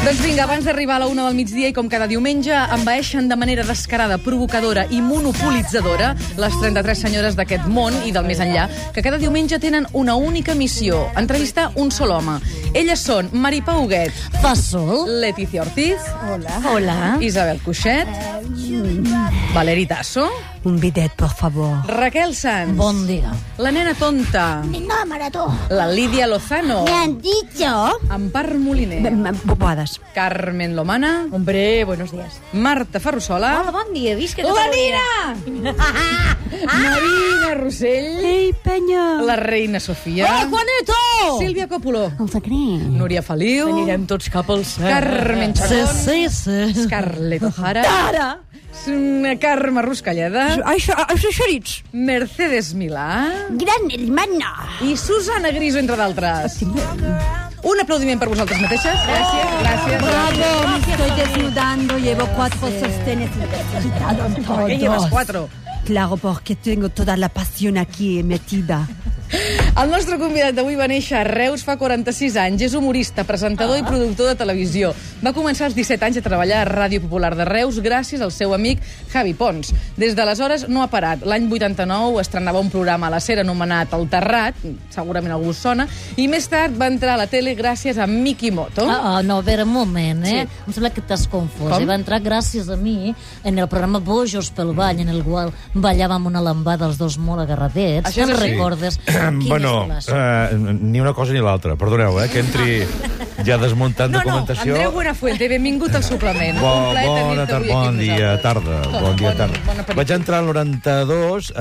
Doncs vinga, abans d'arribar a la una del migdia i com cada diumenge, envaeixen de manera descarada, provocadora i monopolitzadora les 33 senyores d'aquest món i del més enllà, que cada diumenge tenen una única missió, entrevistar un sol home. Elles són Mari Pauguet, Fesol. Leticia Ortiz, Hola. Isabel Cuixet, Valeri Tasso, Un bidet, por favor. Raquel Sanz, Bon dia. la nena tonta, Venga, maratón. la Lídia Lozano, Me han dicho Empar Moliner, Bobades. Carmen Lomana, Hombre, buenos días. Marta Ferrusola, Hola, bon dia, visca la Catalunya. Nina! Ah! Marina Rossell, Ei, penya. la reina Sofia, Juanito! Sílvia Copoló, el secret. Núria Feliu, Anirem tots cap al cel. Carmen Sí, Chacón, sí, sí. Carlet O'Hara, Ah! Sna- Carme Ruscalleda, Això, això, xerits. Mercedes Milà Gran hermana. i Susana Griso, entre d'altres. Un aplaudiment per vosaltres mateixes. Gràcies, gràcies. Bravo, me estoy desnudando, llevo cuatro sostenes necesitados ¿Por qué llevas cuatro? Claro, porque tengo toda la pasión aquí metida. El nostre convidat d'avui va néixer a Reus fa 46 anys. És humorista, presentador i productor de televisió. Va començar als 17 anys a treballar a Ràdio Popular de Reus gràcies al seu amic Javi Pons. Des d'aleshores no ha parat. L'any 89 estrenava un programa a la Cera anomenat El Terrat, segurament algú us sona, i més tard va entrar a la tele gràcies a Miki Moto. Ah, ah, no, a veure, un moment, Oh. eh? Sí. Sí. Em sembla que t'has confós. Com? Eh? Va entrar gràcies a mi en el programa Bojos pel Ball, en el qual ballàvem una lambada els dos molt agarradets. Això és Te'n així? recordes? Quin Eh, bueno, és la- eh, ni una cosa ni l'altra. Perdoneu, eh, que entri ja desmuntant No, no, documentació. Andreu Buenafuente, benvingut al suplement. Un Bon, plaer bona tenir-te avui tarda, aquí bon amb dia, nosaltres. tarda. Bon dia, tarda. Bon, bon Vaig entrar al 92 eh,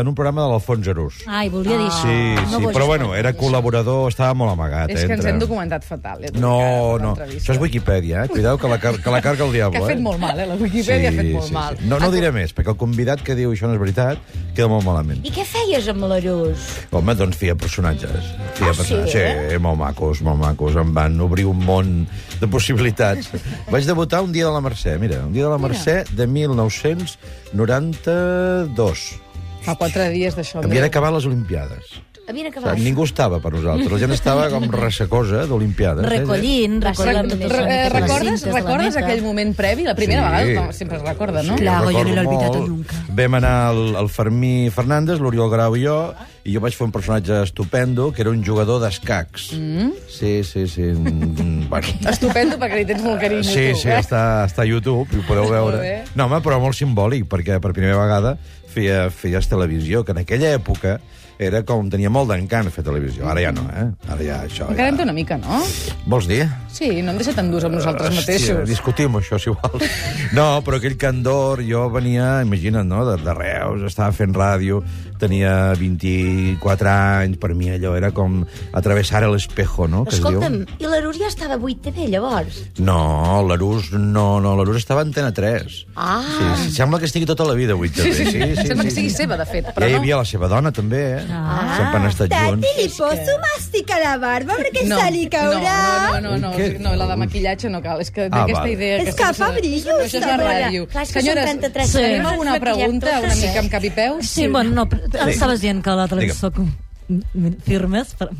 en un programa de l'Alfons Arús. Ai, volia Ah, dir això. Sí, no sí, Bojos però bueno, pel era Ball. col·laborador, estava molt amagat. és eh, que ens entre- hem documentat fatal. eh, tot No, encara, no, l'entrevista. això és Wikipedia, eh? Cuidao que la, car que la carga el diable. Que ha fet eh? molt mal, eh? La Wikipedia ha fet molt mal. Ah, No, no diré més, perquè el convidat que diu això no és veritat queda molt malament. I què feies amb l'Arús? Home, doncs feia personatges. Feia ah, personatges. Sí? sí, molt macos, molt macos. Em van obrir un món de possibilitats. Vaig debutar un dia de la Mercè, mira, un dia de la Mercè de 1992. Fa quatre dies d'això. Havien mira. acabat les Olimpiades. Havien Saps? acabat. Ningú estava per nosaltres. La gent estava com ressacosa d'Olimpiades. eh? Recollint, Re- recollant totes re- eh, les recordes cintes de la recordes meta. aquell moment previ? La primera Sí. vegada no, sempre es recorda, no? Sí. Claro, jo recordo no l'he olvidat molt. nunca. Vam anar al, al Fermí Fernández, l'Oriol Grau i jo, i jo vaig fer un personatge estupendo, que era un jugador d'escacs. Mm? Sí, sí, sí. Mm, bueno, Estupendo, perquè li tens molt carinyo. Sí, tu, sí, eh? està, està a YouTube, i ho podeu Molt veure. bé. No, home, però molt simbòlic, perquè per primera vegada feia, feies televisió, que en aquella època era com... Tenia molt d'encant fer televisió. Ara ja no, eh? Ara ja això... Encara en té ja... una mica, no? Vols dir? Sí, no hem deixat en durs amb nosaltres Hòstia, mateixos. discutim això, si vols. No, però aquell candor, jo venia, imagina't, no?, de, de Reus, estava fent ràdio, tenia 24 anys, per mi allò era com atravessar el espejo, no?, que es diu. Escolta'm, i l'Arús ja estava a 8TV, llavors? No, l'Arús no, no, l'Arús estava a Antena 3. Ah. Sí, sí, sembla que estigui tota la vida, 8 Sí, sí, sí. Sembla que sigui seva, de fet, Ja però hi no. havia la seva dona, també, eh? Ah. Sempre han estat Tati, junts. li poso màstic a la barba perquè No, se li caurà. no, no, no, no, Què no, la de dius? maquillatge no cal. És que té Ah, aquesta val. idea... És que fa sense- brillos, No, això és la a veure. ràdio. Clar, és que són Senyores, 33 tenim senyores, alguna ens maquillem pregunta una totes, mica eh? amb cap i peus? Sí, bueno, no, però sí. estaves dient que la televisió... com- Firmes, per,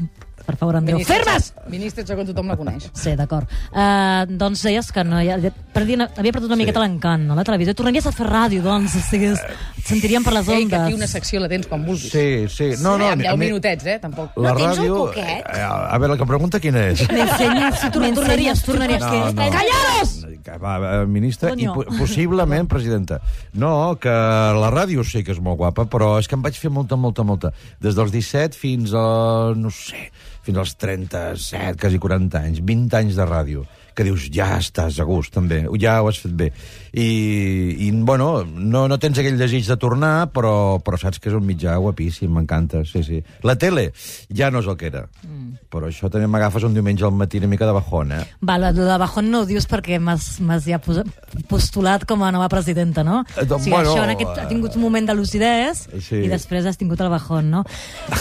per favor, Andreu. Ministre Firmes! Chacón- Ministre Chacón, tothom la coneix. Sí, d'acord. Uh, doncs deies que no, ja, ja perdi, havia perdut una sí. miqueta l'encant, no, la televisió. Tornaries a fer ràdio, doncs, o sigui, es- et sentiríem per les Ei, que ondes. aquí una secció la tens quan vulguis. Sí, sí. No, no, Amb 10 a mi- minutets, eh? Tampoc. la No tens un ràdio... coquet? eh, A veure, la que pregunta quina és? M'ensenyes, tu tornaries, tornaries. No, no. Callados! Que Va, eh, ministra, i Coño. po possiblement presidenta. No, que la ràdio sí que és molt guapa, però és que em vaig fer molta, molta, molta. Des dels 17 fins a, no sé, fins als 37, quasi 40 anys, 20 anys de ràdio que dius, ja estàs a gust, també, ja ho has fet bé. I, i bueno, no, no tens aquell desig de tornar, però, però saps que és un mitjà guapíssim, m'encanta, sí, sí. La tele ja no és el que era, mm. però això també m'agafes un diumenge al matí una mica de bajón, eh? Va, la, la de Bajón no ho dius perquè m'has m'has ja posa- postulat com a nova presidenta, no? Eh, doncs, o sigui, bueno, eh, això en aquest, ha tingut un moment de lucidès Sí. i després has tingut el Bajón, no?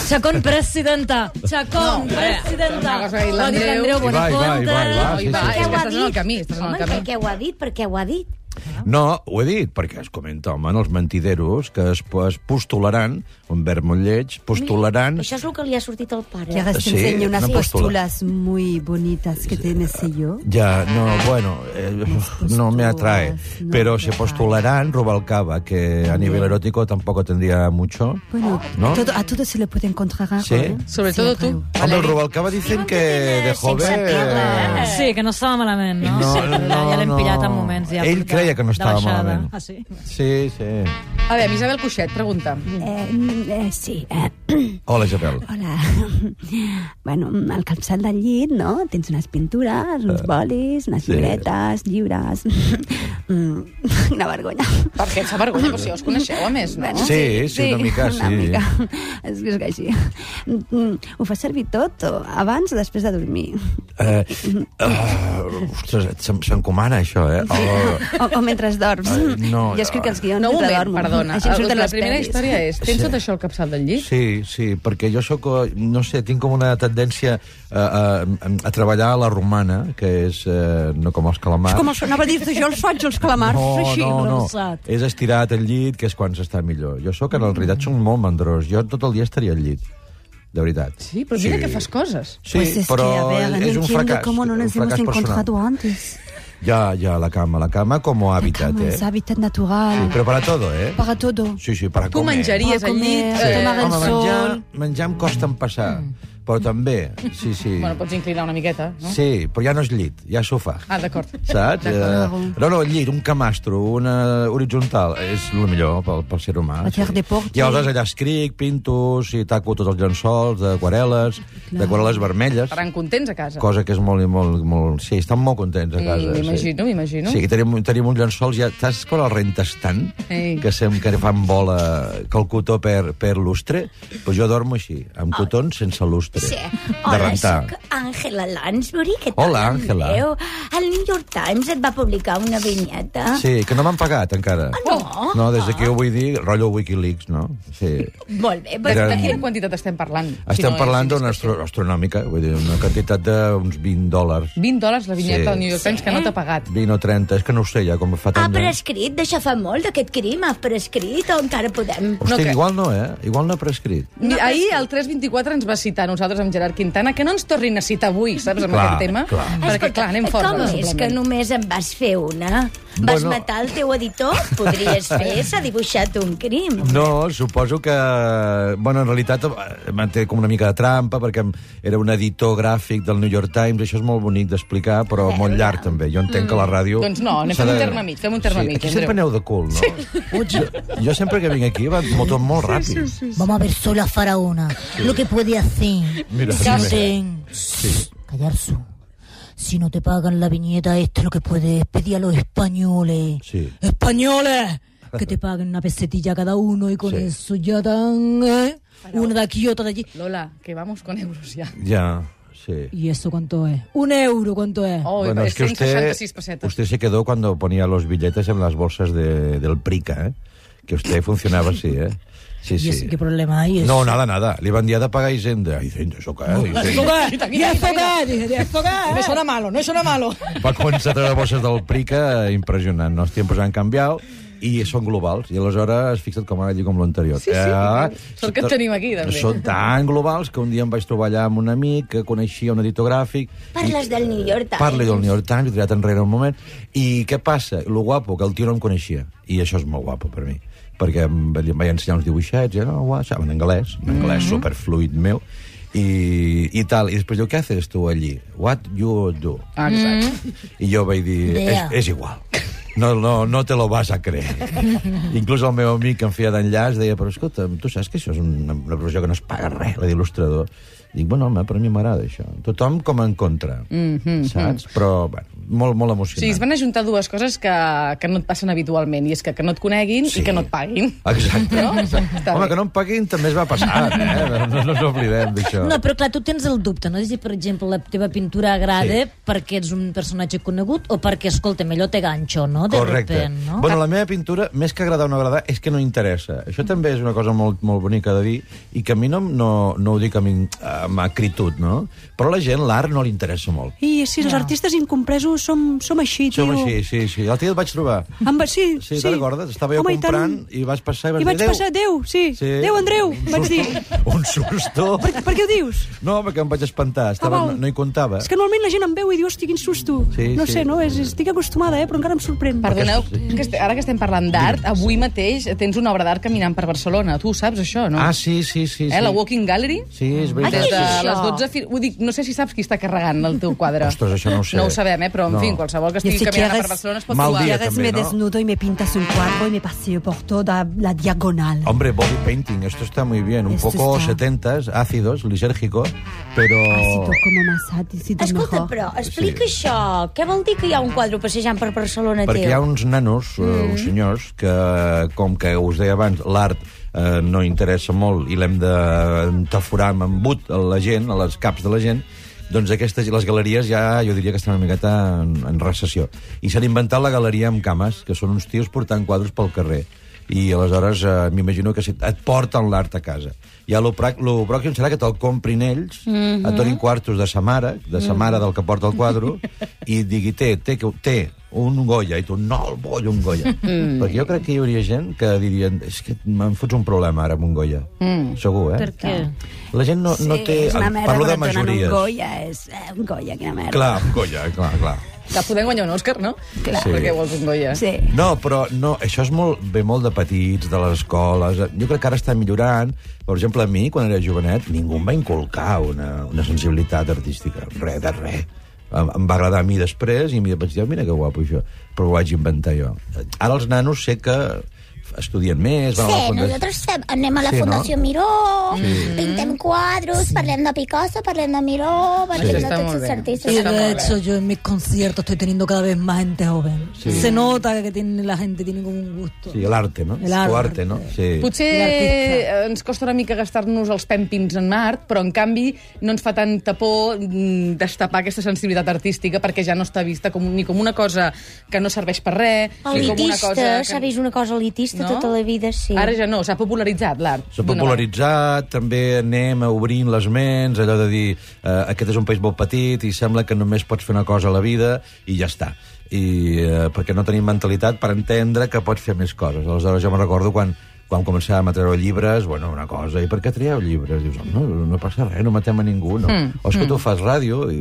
Chacón presidenta! Chacón presidenta! una cosa que ha dit Ho ha dit l'Andreu. l'Andreu I va, i va, i va, i va. Buenafuente. Oi, va, és sí, sí. que estàs en Què ho ha el dit? camí, estàs en el Home, camí. què, què ho ha dit? Per què ho ha dit? No, ho he dit, perquè es comenta, home, en els mentideros que es, es postularan, un verb molt lleig, postularan... Això és el que li ha sortit al Que pare. ahora te Eh, Sí, enseño unas una postula. postulas muy bonitas que tienes y yo. Ja, no, bueno, eh, no me atrae. no Pero me se atrae. postularán Rubalcaba, que a nivel erótico tampoco tendría mucho. Bueno, ¿No? todo- a todo se le puede encontrar algo. Sí. ¿eh? Sobre Sí, todo algo. tú. Hombre, el Rubalcaba dicen que de joven... eh, Sí, que no estava malament, no? No, sí, però ja, no, ja l'hem no. pillat en moments. Ja, Ell creia que no de estava baixada. malament. Ah, sí? Sí, sí. A veure, Isabel Cuixet, pregunta. Eh, mm, eh, sí, eh, Hola, Isabel. hola. bueno, mm, al calçat del llit, no? Tens unes pintures, uns bolis, unes Eh, sí. llibretes, llibres... Mm, Una vergonya. Per què et fa vergonya? Però si ja us coneixeu, a més, no? Bueno, Sí, sí, una mica, Una sí. mica. És que és que així. Mm, mm, Ho fa servir tot, o abans o després de dormir. Eh, eh, ostres, et- se'm- s'encomana, això, eh? Oh, O, o mentre dorms. Ai, no, jo escric els guions No, un mentre moment, dormo. perdona. Així em surten la les primera pelis. història és, tens Sí. tot això al capçal del llit? Sí, sí, perquè jo sóc, eh, no sé, tinc com una tendència a, a, a treballar a la romana, que és eh, no com els calamars. Com sonava dir-te, jo els faig, els calamars, així. no, no. arronsat. És estirat al llit, que és quan s'està millor. Jo sóc, en realitat, sóc molt mandrós. Jo tot el dia estaria al llit, de veritat. Sí, però mira que fas coses. Sí, però és un fracàs. un fracàs personal. antes. Ja, ja, la cama, la cama com a hàbitat, eh? hábitat natural, Sí, però para todo, eh? para todo. Sí, sí, para Tu comer. menjaries Va al comer, llit... va tomar el Home, menjar, sol. menjar em costa en passar, mm. però també, sí, sí. Bueno, pots inclinar una miqueta, no? Sí, però ja no és llit, ja és sofà. Ah, d'acord. Saps? Eh, no, no, llit, un camastro, una horitzontal, és el millor pel, pel ser humà. La terre de porc, I aleshores allà escric, pinto, i taco tots els llençols d'aquarel·les, d'aquarel·les vermelles, Estaran contents a casa. cosa que és molt, i molt, molt... Sí, estan molt contents a I casa. sí. M'imagino, m'imagino. Sí, que tenim, tenim uns llençols, ja, saps quan el rentes tant? Ei. Que sem que fan bola, que el cotó per, per lustre? Pues jo dormo així, amb cotons sense lustre. Sí. De Hola, rentar. sóc Àngela Lansbury. Què tal, Hola, Àngela. Andreu? El New York Times et va publicar una vinyeta. Sí, que no m'han pagat encara. ah. no? No, des d'aquí ho vull dir, rotllo Wikileaks, no? Sí. Molt De, bé, doncs Era- de quina quantitat estem parlant? Estem no és parlant d'una indiscreció? astro astronòmica, vull dir, una quantitat d'uns 20 dòlars. 20 dòlars la vinyeta Sí. del New York Times que no t'ha pagat. 20 o 30, és que no ho sé ja, com fa Ha tant d'anys. prescrit, d'això fa molt, d'aquest crim, ha prescrit o encara podem? No Hosti, crec. igual no, eh? Igual no ha prescrit. No, ahir el 324 ens va citar a nosaltres amb Gerard Quintana que no ens tornin a citar avui, saps, amb Clar, aquest tema. clar. Perquè, clar, anem fort. doncs. com és que només en vas fer una? Vas Bueno. matar el teu editor? Podries fer, s'ha dibuixat un crim. No, suposo que... Bueno, en realitat eh, manté com una mica de trampa, perquè em- era un editor gràfic del New York Times, això és molt bonic d'explicar, però molt llarg també. Jo entenc que la ràdio... Eh, Doncs no, anem s'ha fent un terme mig, fem un terme mig, Aquí sempre Andreu. aneu de cul, no? Sí. Jo, jo sempre que vinc aquí va molt, tot molt ràpid. Sí, sí, Vamos a ver, soy la faraona. Lo que puede hacer. Mira, si dime. no te... Callar su. Si no te pagan la viñeta, esto es lo que puedes es pedir a los españoles. Sí. ¡Españoles! Que te paguen una pesetilla cada uno y con Sí. eso ya dan, ¿eh? Una de aquí y otra de allí. Lola, que vamos con euros ja. Ja, sí. ¿Y eso cuánto es? ¿Un euro cuánto es? Oh, bueno, es que usted, 166 pessetes. usted se quedó cuando ponía los billetes en las bolsas de, del Prica, ¿eh? Que usted funcionaba así, ¿eh? Sí, ¿Y sí. eso qué problema hay? ¿Eso? No, nada, nada. Le van día de pagar Hisenda. Hisenda, eso qué? Hisenda. Quita, ¿Y quita, eso quita. qué es? Dije, ¿y esto qué es? No suena malo, no suena malo. Va començar a treure bosses del Prica, eh, impressionant. No? Els tiempos han canviat i són globals. I aleshores, fixa't com ara allí com l'anterior. Eh, Sí, sí. Sort que et tenim aquí, també. Són tan globals que un dia em vaig trobar allà amb un amic que coneixia un editor gràfic. Parles del New York Times. Parli del New York Times, he tirat enrere un moment. I què passa? Lo guapo, que el tio no em coneixia. I això és molt guapo per mi perquè em va- em vaig ensenyar uns dibuixets, i era, oh, uau, en anglès, en anglès Mm. superfluid meu, i, i tal. I després diu, què haces tu allí? What you do? Ah, Mm. exacte. I jo vaig dir, és, Yeah. és igual. No, no, no te lo vas a creer. Inclús el meu amic que em feia d'enllaç deia, però escolta, tu saps que això és una, una professió que no es paga res, la d'il·lustrador. Dic, bueno, home, però a mi m'agrada això. Tothom com en contra, mm -hmm, saps? Però, bueno, molt, molt O sigui, emocionant. es van ajuntar dues coses que, que no et passen habitualment, i és que, que no et coneguin Sí. i que no et paguin. Exacte. No? Està Home, bé. que no em paguin també es va passar, eh? No, no ens oblidem d'això. No, però clar, tu tens el dubte, no? És a dir, per exemple, la teva pintura agrada Sí. sí. perquè ets un personatge conegut o perquè, escolta, millor te ganxo, no? De Correcte. repent, no? Bueno, la meva pintura, més que agradar o no agradar, és que Mm. no interessa. Això també és una cosa molt, molt bonica de dir i que a mi no, no, no ho dic a mi, eh, amb acritud, no? Però a la gent l'art no li interessa molt. I si els artistes incompresos som, som així, tio. Som així, sí, sí. L'altre dia et vaig trobar. Amb, sí, Sí, te'n recordes? Estava jo Home, i tant. comprant i, vas passar i vas I vaig dir, passar, Déu, sí. Sí. Déu, Andreu, vaig dir. Un susto. Per, per què ho dius? No, perquè em vaig espantar. Estava, val. no, no hi comptava. És que normalment la gent em veu i diu, hosti, quin susto. Sí, no sí. sé, no? És, estic acostumada, eh? però encara em sorprèn. Perdoneu, Aquesta que este- ara que estem parlant d'art, avui mateix tens una obra d'art caminant per Barcelona. Tu ho saps, això, no? Ah, sí, sí, sí. sí. eh, la Walking Gallery? Sí, Ah, és Des veritat. de és això? les 12 fins... Ho dic, no sé si saps qui està carregant el teu quadre. Ostres, això no ho sé. No ho sabem, eh? Però, en no. No. fi, qualsevol que estigui si caminant quieres- per Barcelona es pot Mal trobar. dia, Llegas, també, me no? desnudo y me pintas un cuadro y me paseo por toda la diagonal. Hombre, body painting, esto está muy bien. Un Esto poco está. 70s, ácidos, lisérgico, pero... Ácido como más ácido Escolta, mejor. però, explica això. Què vol dir que hi ha un quadre passejant per Barcelona Perquè teu? hi ha uns nanos, mm. uns senyors, que, com que us deia abans, l'art eh, no interessa molt i l'hem d'entaforar amb embut a la gent, a les caps de la gent, doncs aquestes, les galeries ja, jo diria que estan una miqueta en, en recessió. I s'han inventat la galeria amb cames, que són uns tios portant quadres pel carrer. I aleshores eh, m'imagino que si et porten l'art a casa. I el pròxim serà que te'l comprin ells, mm -hmm. et donin quartos de sa mare, de sa mare del que porta el quadro, i et digui, té, té, que- té, un Goya, i tu, no, el vull un Goya. Mm. Perquè jo crec que hi hauria gent que dirien, és que me'n fots un problema ara amb un Goya. Mm. Segur, eh? Per què? La gent no, no té... és eh, una merda Parlo de quan et donen majories. Un Goya, és eh, un Goya, quina merda. Clar, amb Goya, clar, clar. Que podem guanyar un Òscar, no? Clar. Sí. Perquè vols un Goya. Sí. No, però no, això és molt, ve molt de petits, de les escoles. Jo crec que ara està millorant. Per exemple, a mi, quan era jovenet, ningú em va inculcar una, una sensibilitat artística. Res de res. Em, em va agradar a mi després i em vaig dir, "Oh, mira que guapo això. Però ho vaig inventar jo. Ara els nanos sé que estudien més, van a la Sí, fundació... nosaltres fem, anem a la Sí, sí, no? Fundació no? Miró, sí. pintem quadros, parlem de Picasso, parlem de Miró, parlem Això sí. de està tots molt els bé. artistas. Y Está muy de hecho, yo en mis conciertos estoy teniendo cada vez más gente joven. Se nota que tiene, la gente tiene como un gusto. Sí, l'arte, no? El arte. O arte, no? Sí. Potser L'artista. ens costa una mica gastar-nos els pèmpins en art, però en canvi no ens fa tanta por mm, destapar aquesta sensibilitat artística perquè ja no està vista com, ni com una cosa que no serveix per res, ni com una Elitista, cosa... Que... s'ha vist una cosa elitista No? tota la vida, sí. Ara ja no, s'ha popularitzat l'art. S'ha d'una manera. popularitzat, també anem a obrint les ments, allò de dir eh, aquest és un país molt petit i sembla que només pots fer una cosa a la vida i ja està. I eh, perquè no tenim mentalitat per entendre que pots fer més coses. Aleshores jo me'n recordo quan quan començàvem a treure llibres, bueno, una cosa, i per què traieu llibres? Dius, no, no passa res, no matem a ningú, no. Hmm, Mm. O és que tu fas ràdio, i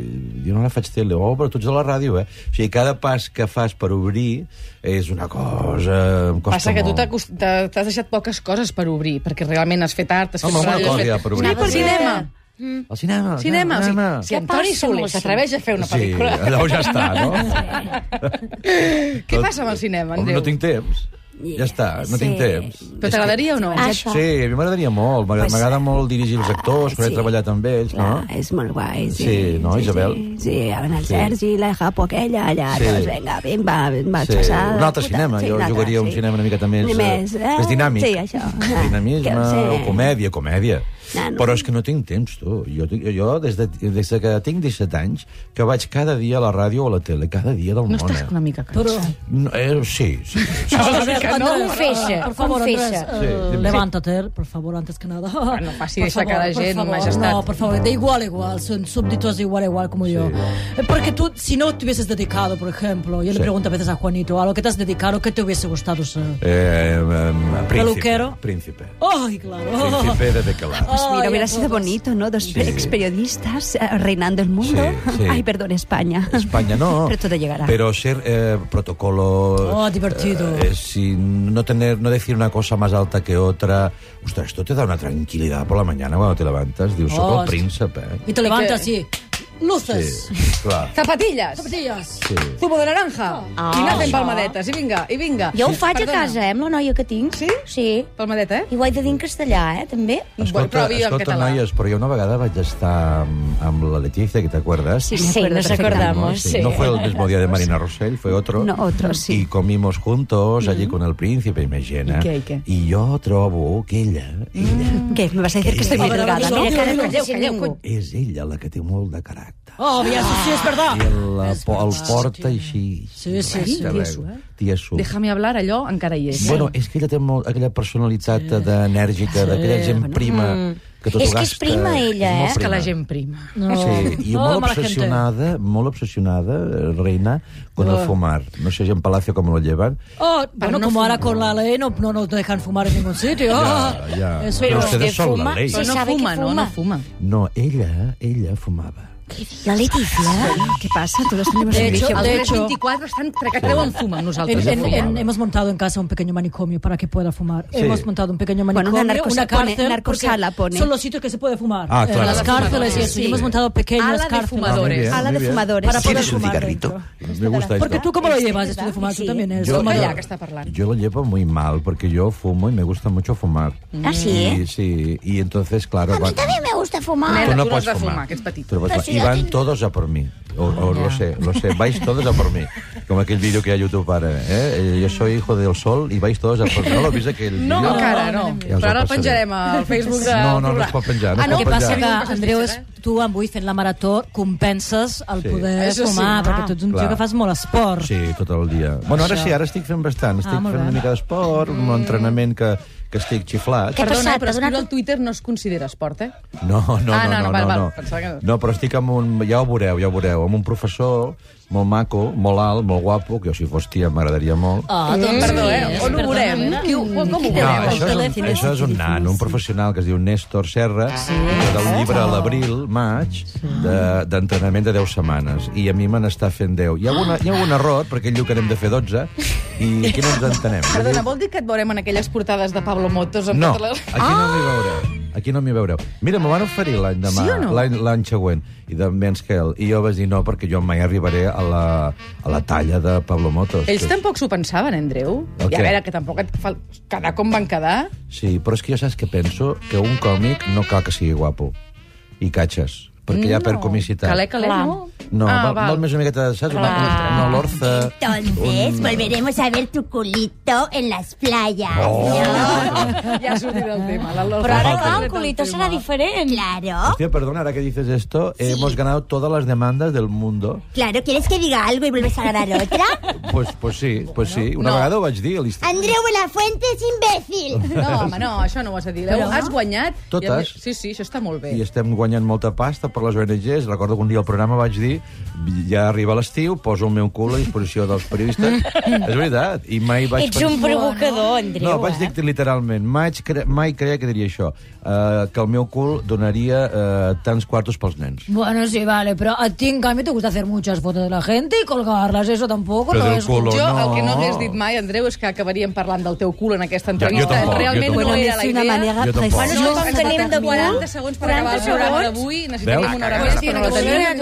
jo no la faig tele, oh, però tu ets a la ràdio, eh? O sigui, cada pas que fas per obrir és una cosa... em costa Passa que tu molt. t'ha cost- t'ha- t'has deixat poques coses per obrir, perquè realment has fet art, has fet Home, alguna ràdio, has cosa fet... hi ha per obrir. Sí, per cinema. Mm. Al cinema. Cinema, o sigui, si Què Antoni passa, Soler mosso? s'atreveix a fer una pel·lícula... Sí, llavors ja està, no? Què passa amb el cinema, eh. Home, Andreu? No tinc temps. Ja està, no tinc temps. Però t'agradaria o no? Ah, això. Sí, a mi m'agradaria molt. M'agrada Pues, m'agrada molt dirigir els actors, perquè sí. he treballat amb ells, no? Clar, és molt guai, sí. Sí, no, Isabel? Sí, sí, amb el Sí. Sergi, la Japo aquella, allà, Sí. sí. doncs vinga, vinga, vinga, Sí, xassada, un altre puta, cinema. Jo un altre, jugaria a un cinema una miqueta més, Ni eh, més, eh? més dinàmic. Sí, això. Que Dinamisme ho o sé. comèdia, comèdia. No, no. Però és que no tinc temps, tu. Jo, tinc- jo des, de, des de que tinc 17 anys, que vaig cada dia a la ràdio o a la tele, cada dia del No món. estàs eh? una mica cansat? Pero, No, eh, sí, sí, sí. Una mica no. Confessa, Por favor, Andrés, eh, confessa. Sí, dime. levántate, por favor, antes que nada. no faci Por deixar cada por gent, favor. majestad. No, por favor, de igual a igual, son súbditos de igual a igual como yo. Eh, Porque tú, si no te hubieses dedicado, por ejemplo, yo Sí. le pregunto a veces a Juanito, a lo que te has dedicado, ¿qué te hubiese gustado ser? Eh, eh, príncipe. Peluquero. Oh. Príncipe. Ay, claro. Príncipe de Bequelá. Pues mira, Ay, hubiera a sido todos. bonito, ¿no? Dos Sí. ex-periodistas eh, reinando el mundo. Sí, sí. Ay, perdón, España. España no. Pero todo llegará. Pero ser eh, protocolo. Oh, divertido. eh, si no tener, no decir una cosa más alta que otra. Ostras, esto te da una tranquilidad por la mañana cuando te levantas. Digo, soy Oh, el sí. príncipe. ¿eh? Y te levantas y... Luces. Sí, claro. Zapatillas, Zapatillas. Sí. zumo de naranja, i anar fent palmadetes, i vinga, i vinga. Jo ho faig Perdona. a casa, eh, amb la noia que tinc. Sí? Sí. Palmadeta, eh? I ho he de dir en castellà, eh, també. Bueno, Escolta, provi en escolta català. noies, però jo una vegada vaig estar amb, amb la Letizia, que t'acuerdes? me Sí, acuerdo nos perfectamente. acordamos. sí. No fue el mismo día de Marina Rosell, fue otro. No, otro, sí. Y comimos juntos allí con el príncipe, imagina. ¿Y qué, y qué? Y yo trobo que ella, ella ¿Qué? ¿Me vas a decir que estoy muy Ahora delgada? mismo. ¿no? Mira, cara, Mira, cara, calleu, calleu, calleu, calleu. és ella la que té molt de caràcter. recte. Obvio, eso sí es verdad. I la, po- el porta així. Sí, sí, recte, sí. Tieso, eh? Tieso. Déjame hablar, allò encara hi és. Bueno, és que ella té molt, aquella personalitat sí. d'enèrgica, d'aquella gent prima que tot És ho que és gasta. prima, ella, molt és que la prima. gent prima. No. Sí, i Toda molt mala gente. obsesionada, molt obsesionada, eh, reina, con el fumar. No sé si en Palacio com lo llevan. Oh, bueno, no como ahora con la ley no, no nos dejan fumar en ningún sitio. Ah, Ya, ya. Eso Pero es. ustedes que son la fuma, ley. se Però no sabe fuma, que no, fuma. no fuma. No, ella, ella fumaba. La Leticia. ¿Qué pasa? Tú los tenemos De hecho, Els de tres hecho 24 estan tracateu en fuma amb nosaltres. en- en- fumaba. en- hemos montado en casa un pequeño manicomio para que pueda fumar. Sí. Hemos montado un pequeño Bueno, manicomio, una narcosa- una cárcel. pone- narcosala porque pone. Son los sitios que se puede fumar. Ah, claro. En las cárceles y eso. Sí. Y hemos montado pequeñas Ala de cárceles. fumadores. Ah, Ala muy de bien. fumadores. Para poder ¿Quieres un fumar cigarrito? dentro. Me gusta esto. Porque tú cómo lo Es llevas verdad. esto de fumar, tú Sí. también eres Yo- fumador. Calla, que està parlant. Yo lo llevo muy mal porque yo fumo y me gusta mucho fumar. Ah, sí, Y, sí, y entonces, claro... A mí va- también me gusta fumar. Tú Nena, no tú no puedes has de fumar. fumar, que ets petit. Tú no puedes Pero fumar. si Y yo van tengo- todos a por mí. O, o Ah. lo sé, lo sé. Vais todos a por mí. Como aquel vídeo que hay en YouTube para... ¿eh? Eh, Yo soy hijo del sol y vais todos a por mí. ¿No lo viste aquel No, vídeo? encara no. Ja us Però el ara el passaré. penjarem al Facebook de... No, no, no es pot penjar, ah, no es pot no? El que penjar. passa Ja. que, Passes Andreu, és, mitges, eh? tu avui fent la marató compenses el Sí. poder Això sí. fumar, Ah, perquè tu ets un clar. tio que fas molt esport. Sí, tot el dia. Bueno, ara sí, ara estic fent bastant. Estic Ah, molt fent bé. Mm. una mica d'esport, un entrenament que, que estic xiflat. Què ha Perdona, passat? però T'ha donat escriure un- al Twitter no es considera esport, eh? No, no, Ah, no, no, no, no, val, no, val. no. Pensava que no. No, però estic amb un... Ja ho veureu, ja ho veureu. Amb un professor molt maco, molt alt, molt guapo, que jo si fos tia m'agradaria molt. Ah, doncs, Perdó, eh? On ho Perdona, volem? nena. Qui ho- Com ho No, volem? això és, un, això és un nano, un professional que es diu Néstor Serra, Ah. sí. del llibre a l'abril, maig, de- d'entrenament de, 10 setmanes. I a mi me n'està fent 10. Hi ha, una, hi ha un error, perquè ell diu que n'hem de fer 12, i aquí no ens entenem. Perdona, vol dir que et veurem en aquelles portades de Pablo Motos? Amb No, totes les- aquí no m'hi veureu. Aquí no m'hi veureu. Mira, me van oferir l'any demà, Ah! Sí o no? l'any l'any següent, i de Manscale, i jo vaig dir no, perquè jo mai arribaré a la, a la talla de Pablo Motos. Ells que- tampoc s'ho pensaven, Andreu. El I a què? veure, que tampoc et fa quedar com van quedar. Sí, però és que jo saps que penso que un còmic no cal que sigui guapo. I catxes, perquè hi ha per comicitat. Calé, calé, no? No, Ah, val, val. més una miqueta de saps? Una, una olorza... Entonces volveremos doncs, a ver tu culito en las playas. Ja ha sortit el tema. la Lola. Però ara, Falta. clar, el culito serà diferent. Claro, Hostia, perdona, ahora que dices esto, eh, hemos ganado todas las demandas del mundo. claro. ¿Quieres que diga algo y vuelves a grabar otra? Pues, pues sí, pues sí. Una vegada ho vaig dir a l'Instagram. Andreu Buenafuente es imbécil. No, home, no, això no ho has de dir. Has guanyat. i a Totes. més- Sí, sí, això està molt bé. i estem guanyant molta pasta per les ONGs. Recordo que un dia al programa vaig dir ja arriba l'estiu, poso el meu cul a disposició dels periodistes. és veritat. I mai vaig... Ets un provocador, Andreu. No, pues vaig eh? dir literalment, mai, cre mai creia que diria això, eh, que el meu cul donaria eh, tants quartos pels nens. Bueno, sí, vale, pero a ti en cambio te gusta hacer muchas fotos de la gente y colgarlas, eso tampoco Pero no del es... culo. Jo, no. el que no hagués dit mai, Andreu, és que acabaríem parlant del teu cul en aquesta entrevista. jo tampoc, jo Realment tampoc. no era la es una idea. manera Yo tampoco. Bueno, no, preciosa. ens tenim de 40 segons per acabar el 40 programa segons? d'avui. Necessitaríem Veus? una hora més, però no la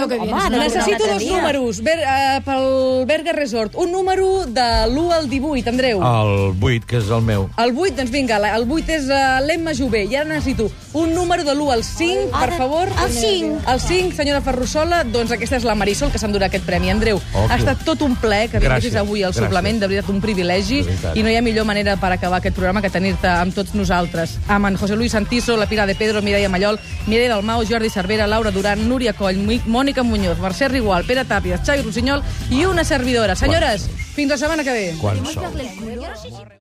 tenim. Home, no, Necessito dos números Ber, eh, pel Berga Resort. Un número de l'1 al 18, Andreu. El 8, que és el meu. El 8, doncs vinga, la- el 8 és uh, l'Emma Jové. I ara necessito un número de l'1 al 5, per favor. el cinc. El 5, senyora Ferrusola. Doncs aquesta és la Marisol, que s'endurà aquest premi. Andreu, Oh, ha tu. estat tot un plaer que vinguessis Gràcies, avui al gràcies. suplement. De veritat, un privilegi. De veritat. I no hi ha millor manera per acabar aquest programa que tenir-te amb tots nosaltres. Amb en José Luis Santiso, la Pilar de Pedro, Mireia Mallol, Mireia Dalmau, Jordi Cervera, Laura Duran, Núria Coll, Mi- Mònica Muñoz, Mercè Rigual, Pere Tàpies, Xavi Rossinyol i una servidora. Senyores, fins la setmana que ve. Quan sol.